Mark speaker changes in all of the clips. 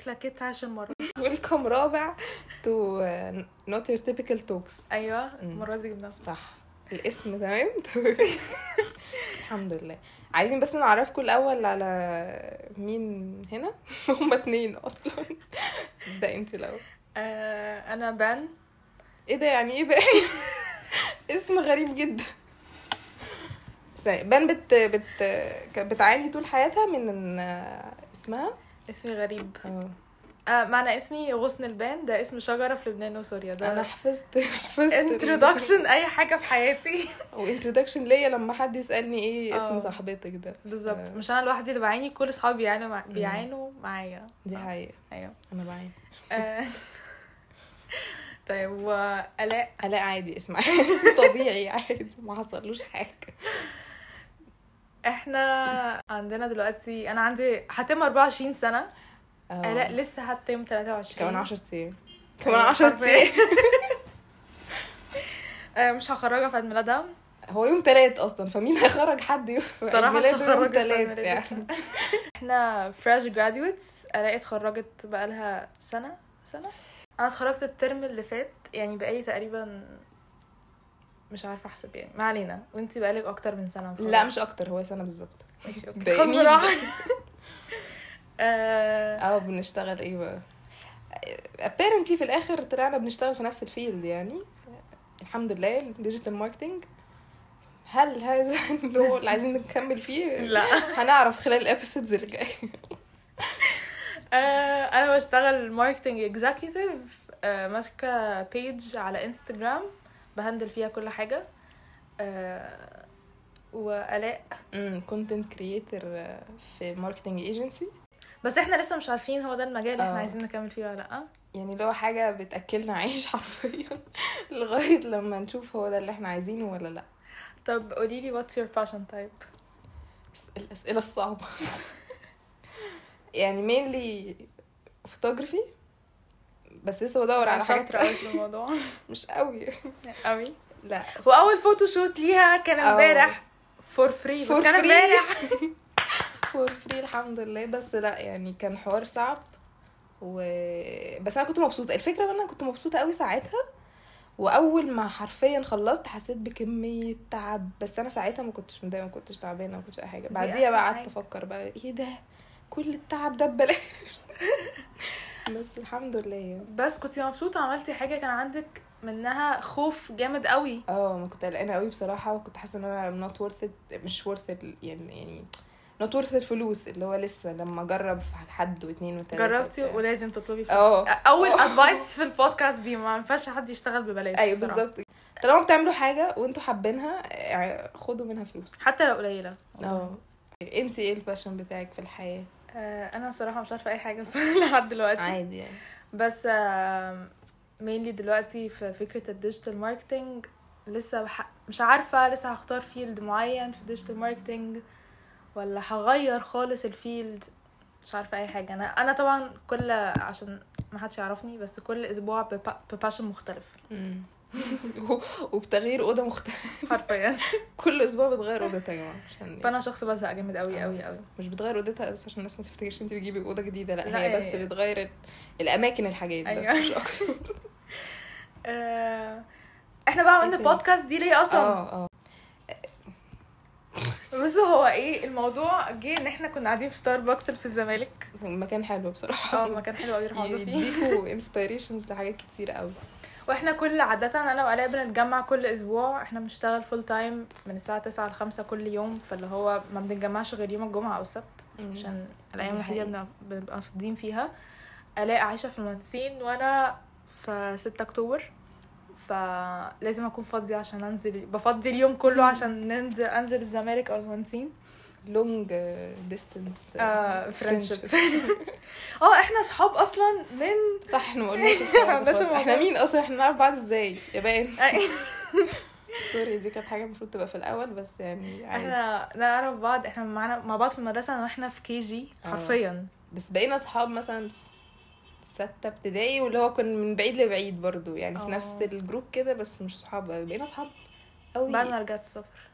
Speaker 1: شكلك عشر مرات
Speaker 2: ويلكم رابع uh, تو نوت يور تيبيكال توكس
Speaker 1: ايوه
Speaker 2: مم.
Speaker 1: المره دي جبناها
Speaker 2: صح الاسم تمام الحمد لله عايزين بس نعرفكم الاول على مين هنا هما اتنين اصلا ده انت الاول
Speaker 1: آه انا بان
Speaker 2: ايه ده يعني ايه بقى اسم غريب جدا استني، بان بت بت ك- بتعاني طول حياتها من آه، اسمها
Speaker 1: اسمي غريب
Speaker 2: آه،
Speaker 1: آه معنى اسمي غصن البان ده اسم شجره في لبنان وسوريا
Speaker 2: انا
Speaker 1: ده
Speaker 2: حفظت حفظت
Speaker 1: انترودكشن اي حاجه في حياتي
Speaker 2: وانترودكشن ليا لما حد يسالني ايه اسم
Speaker 1: آه.
Speaker 2: صاحبتك ده
Speaker 1: بالظبط
Speaker 2: آه.
Speaker 1: مش انا لوحدي اللي بعاني كل اصحابي بيعانوا مع...
Speaker 2: مم.
Speaker 1: بيعانوا معايا
Speaker 2: دي
Speaker 1: آه،
Speaker 2: حقيقة
Speaker 1: ايوه
Speaker 2: انا بعاني
Speaker 1: آه. طيب والاء
Speaker 2: لا عادي اسمع اسم طبيعي عادي ما حصلوش حاجة
Speaker 1: احنا عندنا دلوقتي انا عندي هتم 24 سنه
Speaker 2: آه،
Speaker 1: الاء لسه هتم 23
Speaker 2: كمان 10 ايام كمان
Speaker 1: أيوة،
Speaker 2: 10
Speaker 1: حرفياً.
Speaker 2: ايام
Speaker 1: آه، مش هخرجها في عيد ميلادها
Speaker 2: هو يوم تلات اصلا فمين هيخرج حد يوم
Speaker 1: الصراحة مش
Speaker 2: ميلاده يوم
Speaker 1: هخرجك في
Speaker 2: تلات
Speaker 1: ميلادك.
Speaker 2: يعني
Speaker 1: احنا فريش جراديويتس الاقي اتخرجت بقالها سنه سنه انا اتخرجت الترم اللي فات يعني بقالي تقريبا مش عارفه احسب يعني ما علينا وانتي بقالك اكتر من سنه متخرجة.
Speaker 2: لا مش اكتر هو سنة بالظبط
Speaker 1: ماشي اوكي خد
Speaker 2: متضايقنيش
Speaker 1: براحتك آه،
Speaker 2: اه بنشتغل ايه بقى apparently في الاخر طلعنا بنشتغل في نفس الفيلد يعني الحمد لله الديجيتال ماركتنج هل هذا اللي هو اللي عايزين نكمل فيه
Speaker 1: لا
Speaker 2: هنعرف خلال الابيسودز اللي جايه
Speaker 1: آه، انا بشتغل ماركتنج اكزيكتيف ماسكه بيج على انستجرام بهندل فيها كل حاجه آه، والاء
Speaker 2: كونتنت كرييتر آه، في ماركتنج ايجنسي
Speaker 1: بس احنا لسه مش عارفين هو ده المجال اللي
Speaker 2: آه.
Speaker 1: احنا عايزين نكمل فيه ولا لا
Speaker 2: يعني اللي هو حاجه بتاكلنا عيش حرفيا لغايه لما نشوف هو ده اللي احنا عايزينه ولا لا
Speaker 1: طب قولي لي what's your passion type
Speaker 2: الس- الاسئله الصعبه يعني mainly فوتوغرافي بس لسه بدور على حاجات
Speaker 1: شاطرة أوي في الموضوع
Speaker 2: مش قوي
Speaker 1: قوي
Speaker 2: لا
Speaker 1: واول فوتو شوت ليها كان
Speaker 2: أو.
Speaker 1: امبارح فور فري بس
Speaker 2: For
Speaker 1: كان
Speaker 2: free.
Speaker 1: امبارح
Speaker 2: فور فري الحمد لله بس لا يعني كان حوار صعب و... بس انا كنت مبسوطه الفكره ان انا كنت مبسوطه قوي ساعتها واول ما حرفيا خلصت حسيت بكميه تعب بس انا ساعتها ما كنتش متضايقه ما كنتش تعبانه ما كنتش اي حاجه
Speaker 1: دي
Speaker 2: بعديها
Speaker 1: أحسن
Speaker 2: بقى قعدت
Speaker 1: حاجة.
Speaker 2: افكر بقى ايه ده كل التعب ده ببلاش بس الحمد لله يعني
Speaker 1: بس كنت مبسوطه عملتي حاجه كان عندك منها خوف جامد قوي
Speaker 2: اه ما كنت قلقانه قوي بصراحه وكنت حاسه ان انا not worth it مش worth it يعني يعني not worth الفلوس اللي هو لسه لما اجرب في حد واتنين وتلاته
Speaker 1: جربتي
Speaker 2: وبتاع.
Speaker 1: ولازم تطلبي فلوس
Speaker 2: اه.
Speaker 1: اول
Speaker 2: اه.
Speaker 1: ادفايس في البودكاست دي ما ينفعش حد يشتغل ببلاش
Speaker 2: ايوه
Speaker 1: بصراحة.
Speaker 2: بالظبط طالما بتعملوا حاجه وانتوا حابينها آه، خدوا منها فلوس
Speaker 1: حتى لو قليله
Speaker 2: اه انت ايه الباشن بتاعك في الحياه
Speaker 1: آه، انا صراحه مش عارفه اي حاجه بصراحة لحد دلوقتي
Speaker 2: عادي يعني
Speaker 1: بس مينلي دلوقتي في فكرة الديجيتال ماركتينج لسه بح... مش عارفة لسه هختار فيلد معين في الديجيتال ماركتينج ولا هغير خالص الفيلد مش عارفة أي حاجة أنا أنا طبعا كل عشان ما حدش يعرفني بس كل أسبوع ببا... بباشن مختلف
Speaker 2: مم. و- وبتغيير اوضه مختلفه
Speaker 1: حرفيا
Speaker 2: كل اسبوع بتغير اوضتها يا جماعه عشان
Speaker 1: فأنا شخص بزهق جامد أوي أوي أوي
Speaker 2: مش بتغير اوضتها بس عشان الناس ما تفتكرش انت بتجيبي اوضه جديده لا,
Speaker 1: لا،
Speaker 2: هي بس
Speaker 1: هي-
Speaker 2: بتغير ال- الاماكن الحاجات بس
Speaker 1: أيوة.
Speaker 2: مش اكتر
Speaker 1: آه، احنا بقى عملنا
Speaker 2: إيه تاني؟
Speaker 1: البودكاست دي ليه أصلا
Speaker 2: اه اه
Speaker 1: بصوا هو ايه الموضوع جه ان احنا كنا قاعدين في ستاربكس اللي في الزمالك
Speaker 2: مكان حلو بصراحه
Speaker 1: اه مكان حلو قوي
Speaker 2: إيه،
Speaker 1: نروح نقعد فيه
Speaker 2: يديكوا انسبيريشنز لحاجات كتير قوي
Speaker 1: واحنا كل عادة انا وعلاء بنتجمع كل اسبوع احنا بنشتغل فول تايم من الساعة 9 ل 5 كل يوم فاللي هو ما بنتجمعش غير يوم الجمعة او السبت عشان الايام
Speaker 2: دي
Speaker 1: الوحيدة
Speaker 2: حقيقة.
Speaker 1: بنبقى- بنبقى فاضيين فيها الاقي عايشة في المهندسين وانا في 6 اكتوبر فلازم اكون فاضية عشان انزل بفضي اليوم كله عشان ننزل انزل الزمالك او المهندسين
Speaker 2: لونج ديستنس
Speaker 1: آه، friendship. اه احنا صحاب اصلا من
Speaker 2: صح احنا ما قلناش الحوار
Speaker 1: قلناش
Speaker 2: ده خالص. احنا
Speaker 1: الموضوع.
Speaker 2: مين اصلا احنا نعرف بعض ازاي يا بان سوري دي كانت حاجه المفروض تبقى في الاول بس يعني عادي
Speaker 1: احنا نعرف بعض احنا معانا مع بعض في المدرسة واحنا في كي جي
Speaker 2: اه.
Speaker 1: حرفيا
Speaker 2: بس بقينا اصحاب مثلا في ستة ابتدائي واللي هو كنا من بعيد لبعيد برضو يعني في
Speaker 1: اه.
Speaker 2: نفس الجروب كده بس مش صحاب قوي بقينا صحاب قوي
Speaker 1: بعد ما رجعت السفر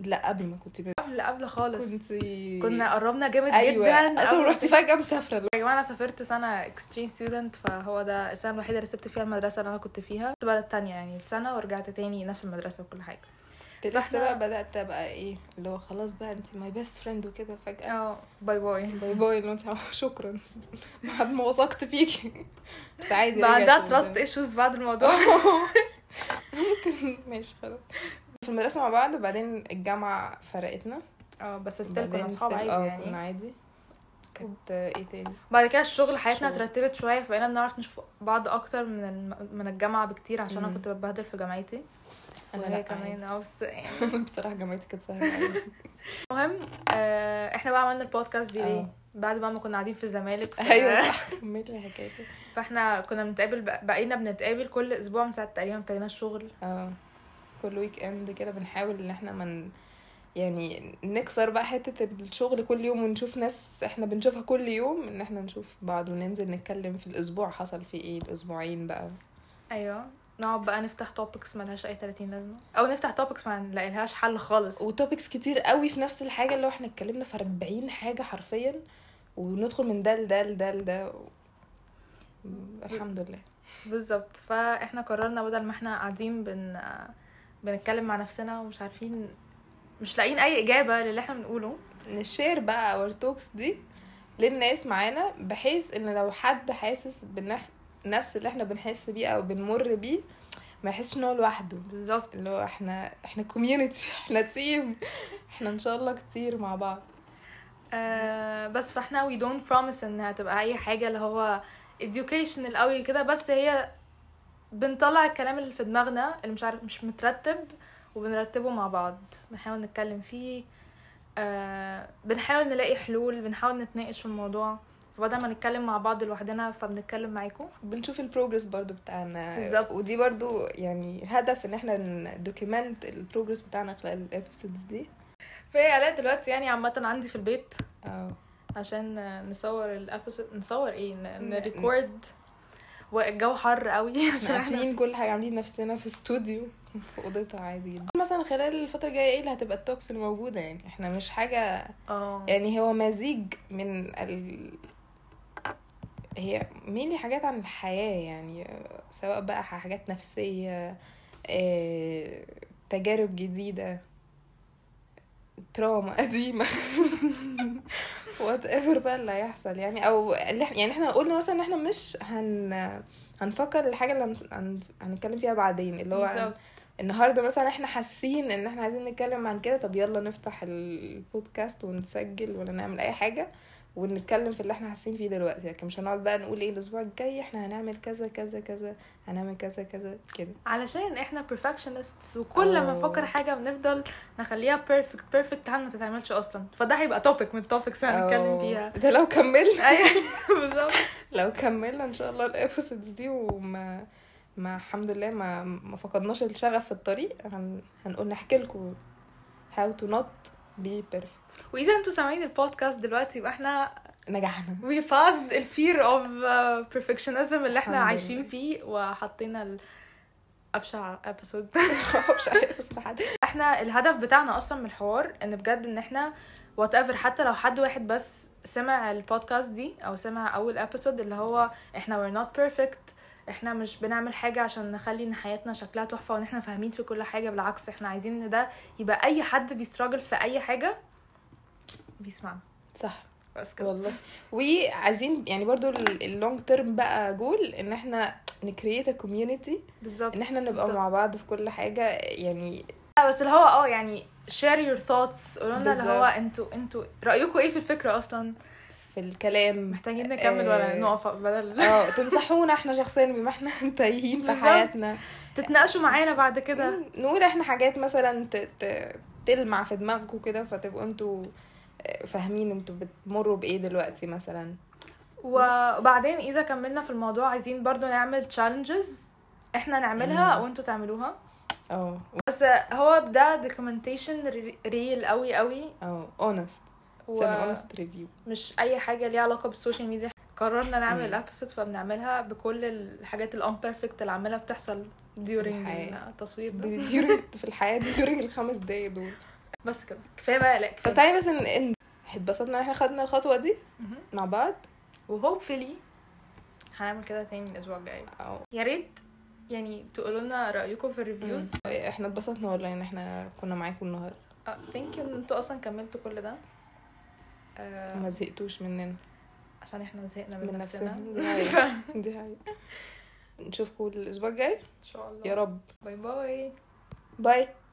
Speaker 2: لا قبل ما كنت ب...
Speaker 1: قبل قبل خالص
Speaker 2: كنت
Speaker 1: كنا قربنا جامد
Speaker 2: ايوه
Speaker 1: جدا
Speaker 2: اصلا
Speaker 1: أول-
Speaker 2: رحت فجاه مسافره اللي
Speaker 1: يا جماعه انا سافرت سنه exchange student فهو ده السنه الوحيده اللي سبت فيها المدرسه اللي انا كنت فيها كنت بلد تانية يعني سنه ورجعت تاني نفس المدرسه وكل حاجه
Speaker 2: هو لسه
Speaker 1: فإحنا-
Speaker 2: بقى بدات ابقى ايه اللي هو خلاص بقى انت ماي بيست فريند وكده فجاه
Speaker 1: اه باي باي
Speaker 2: باي باي اللي انت شكرا بعد ما وثقت فيكي بس عادي
Speaker 1: بعدها
Speaker 2: رجعت قدام.
Speaker 1: تراست ايشوز بعد الموضوع
Speaker 2: ممكن ماشي خلاص في المدرسة مع بعض وبعدين الجامعة فرقتنا
Speaker 1: اه بس ستيل
Speaker 2: بعدين
Speaker 1: كنا اصحاب
Speaker 2: still-
Speaker 1: عادي
Speaker 2: اه،
Speaker 1: يعني
Speaker 2: كنا عادي كانت ايه تاني
Speaker 1: بعد كده الشغل حياتنا
Speaker 2: الشغل.
Speaker 1: اترتبت شويه فبقينا بنعرف نشوف بعض اكتر من الم... من الجامعه بكتير عشان انا
Speaker 2: مم.
Speaker 1: كنت بتبهدل في جامعتي
Speaker 2: انا
Speaker 1: وهي
Speaker 2: لا
Speaker 1: كمان
Speaker 2: كمان
Speaker 1: اه بس يعني
Speaker 2: بصراحة جامعتي كانت سهلة عادي.
Speaker 1: المهم آه احنا بقى عملنا البودكاست دي ليه؟
Speaker 2: اه.
Speaker 1: بعد بقى ما كنا قاعدين في الزمالك ف-
Speaker 2: ايوه صح كملي حكايتي
Speaker 1: فاحنا كنا بنتقابل بق- بقينا بنتقابل كل اسبوع من ساعه تقريبا ابتدينا الشغل
Speaker 2: اه كل ويك اند كده بنحاول ان احنا من يعني نكسر بقى حتة الشغل كل يوم ونشوف ناس احنا بنشوفها كل يوم ان احنا نشوف بعض وننزل نتكلم في الاسبوع حصل فيه ايه الاسبوعين بقى
Speaker 1: ايوه نقعد بقى نفتح توبكس ملهاش اي 30 لازمه او نفتح توبكس ما نلاقيلهاش حل خالص
Speaker 2: وتوبكس كتير قوي في نفس الحاجه اللي هو احنا اتكلمنا في 40 حاجه حرفيا وندخل من ده لده لده لده و... الحمد لله
Speaker 1: بالظبط فاحنا قررنا بدل ما احنا قاعدين بن بنتكلم مع نفسنا ومش عارفين مش لاقيين اي اجابه للي احنا بنقوله
Speaker 2: نشير بقى اور توكس دي للناس معانا بحيث ان لو حد حاسس بالنفس نفس اللي احنا بنحس بيه او بنمر بيه ما يحسش ان هو لوحده
Speaker 1: بالظبط
Speaker 2: اللي هو احنا احنا كوميونتي احنا تيم احنا ان شاء الله كتير مع بعض
Speaker 1: آه بس فاحنا وي دونت بروميس انها تبقى اي حاجه اللي هو educational قوي كده بس هي بنطلع الكلام اللي في دماغنا اللي مش عارف مش مترتب وبنرتبه مع بعض بنحاول نتكلم فيه آه بنحاول نلاقي حلول بنحاول نتناقش في الموضوع فبدل ما نتكلم مع بعض لوحدنا فبنتكلم معاكم
Speaker 2: بنشوف البروجرس برضو بتاعنا
Speaker 1: بالظبط.
Speaker 2: ودي برضو يعني هدف ان احنا ندوكيمنت البروجرس بتاعنا خلال الابيسودز دي
Speaker 1: في الاء دلوقتي يعني عامه عندي في البيت
Speaker 2: اه
Speaker 1: عشان آه، نصور الابيسود نصور ايه ن-
Speaker 2: ن-
Speaker 1: نريكورد والجو حر قوي عشان
Speaker 2: احنا
Speaker 1: احنا
Speaker 2: قافلين كل حاجه عاملين نفسنا في استوديو في اوضتها عادي جدا مثلا خلال الفتره الجايه ايه اللي هتبقى التوكس اللي موجوده يعني احنا مش حاجه
Speaker 1: اه
Speaker 2: يعني هو مزيج من ال... هي مينلي حاجات عن الحياه يعني آه، سواء بقى حاجات نفسيه آه، تجارب جديده تراما قديمه وات ايفر بقى اللي هيحصل يعني او اللي إحنا- يعني احنا قلنا مثلا ان احنا مش هن هنفكر الحاجه اللي هن- هن- هنتكلم فيها بعدين اللي هو
Speaker 1: بالظبط
Speaker 2: النهارده مثلا احنا حاسين ان احنا عايزين نتكلم عن كده طب يلا نفتح البودكاست ونسجل ولا نعمل اي حاجه ونتكلم في اللي احنا حاسين فيه دلوقتي لكن مش هنقعد بقى نقول ايه الاسبوع الجاي احنا هنعمل كذا كذا كذا هنعمل كذا كذا كده
Speaker 1: علشان احنا perfectionists وكل ما
Speaker 2: أوه.
Speaker 1: نفكر حاجه بنفضل نخليها perfect perfect تعال ما تتعملش اصلا فده هيبقى topic من التوبكس اللي هنتكلم
Speaker 2: أو-
Speaker 1: فيها
Speaker 2: ده لو كملنا
Speaker 1: ايوه بالظبط
Speaker 2: لو كملنا ان شاء الله الابيسودز دي وما ما الحمد لله ما ما فقدناش الشغف في الطريق هن... هنقول نحكي لكم how to not be perfect
Speaker 1: واذا انتوا سامعين البودكاست دلوقتي يبقى احنا
Speaker 2: نجحنا
Speaker 1: we passed الفير اوف آه، perfectionism اللي
Speaker 2: الحمد
Speaker 1: احنا
Speaker 2: لله.
Speaker 1: عايشين فيه وحطينا ال ابشع episode
Speaker 2: مش عارف اصل حد
Speaker 1: احنا الهدف بتاعنا اصلا من الحوار ان بجد ان احنا وات ايفر حتى لو حد واحد بس سمع البودكاست دي او سمع اول ابيسود اللي هو احنا وير نوت بيرفكت احنا مش بنعمل حاجه عشان نخلي ان حياتنا شكلها تحفه وان احنا فاهمين في كل حاجه بالعكس احنا عايزين ان ده يبقى اي حد بيستراجل في اي حاجه بيسمعنا
Speaker 2: صح
Speaker 1: بس كده
Speaker 2: والله وعايزين يعني برضو اللونج تيرم بقى جول ان احنا نكريت كوميونتي
Speaker 1: بالظبط
Speaker 2: ان احنا نبقى
Speaker 1: بالظبط.
Speaker 2: مع بعض في كل حاجه يعني
Speaker 1: لا، بس اللي هو اه يعني share your thoughts قولوا لنا اللي هو
Speaker 2: بالظبط.
Speaker 1: انتوا انتوا رايكم ايه في الفكره اصلا
Speaker 2: في الكلام
Speaker 1: محتاجين نكمل ولا
Speaker 2: آه،
Speaker 1: نقف بدل
Speaker 2: اه تنصحونا احنا شخصيا بما احنا تايهين في
Speaker 1: بالظبط.
Speaker 2: حياتنا
Speaker 1: تتناقشوا معانا بعد كده
Speaker 2: نقول احنا حاجات مثلا ت... ت... تلمع في دماغكم كده فتبقوا انتوا فاهمين انتوا بتمروا بايه دلوقتي مثلا
Speaker 1: وبعدين اذا كملنا في الموضوع عايزين برضو نعمل challenges احنا نعملها
Speaker 2: مم.
Speaker 1: وانتوا تعملوها
Speaker 2: اه
Speaker 1: بس هو ده documentation ريل قوي قوي
Speaker 2: اه اونست سمي اونست ريفيو
Speaker 1: ومش اي حاجه ليها علاقه بالسوشيال ميديا قررنا نعمل
Speaker 2: مم.
Speaker 1: الابسود فبنعملها بكل الحاجات الامبرفكت اللي عماله بتحصل during
Speaker 2: الحياة.
Speaker 1: التصوير ده
Speaker 2: ديورنج في الحياه ديورنج الخمس دقايق دول
Speaker 1: بس كده كفايه بقى لا
Speaker 2: طب طيب.
Speaker 1: كفايه
Speaker 2: تعالي بس ان ان اتبسطنا ان احنا خدنا الخطوه دي مع بعض
Speaker 1: وهوبفلي هنعمل كده تاني الاسبوع الجاي
Speaker 2: أو
Speaker 1: يا ريت يعني تقولوا لنا رايكم في الريفيوز
Speaker 2: احنا اتبسطنا والله ان احنا كنا معاكم النهارده
Speaker 1: اه ثانك ان انتوا اصلا كملتوا كل ده آه،
Speaker 2: ما زهقتوش مننا
Speaker 1: عشان احنا زهقنا
Speaker 2: من نفسنا
Speaker 1: ان
Speaker 2: دي حقيقة. دي حقيقة نشوفكم الاسبوع الجاي
Speaker 1: شاء الله
Speaker 2: يا رب
Speaker 1: باي باي
Speaker 2: باي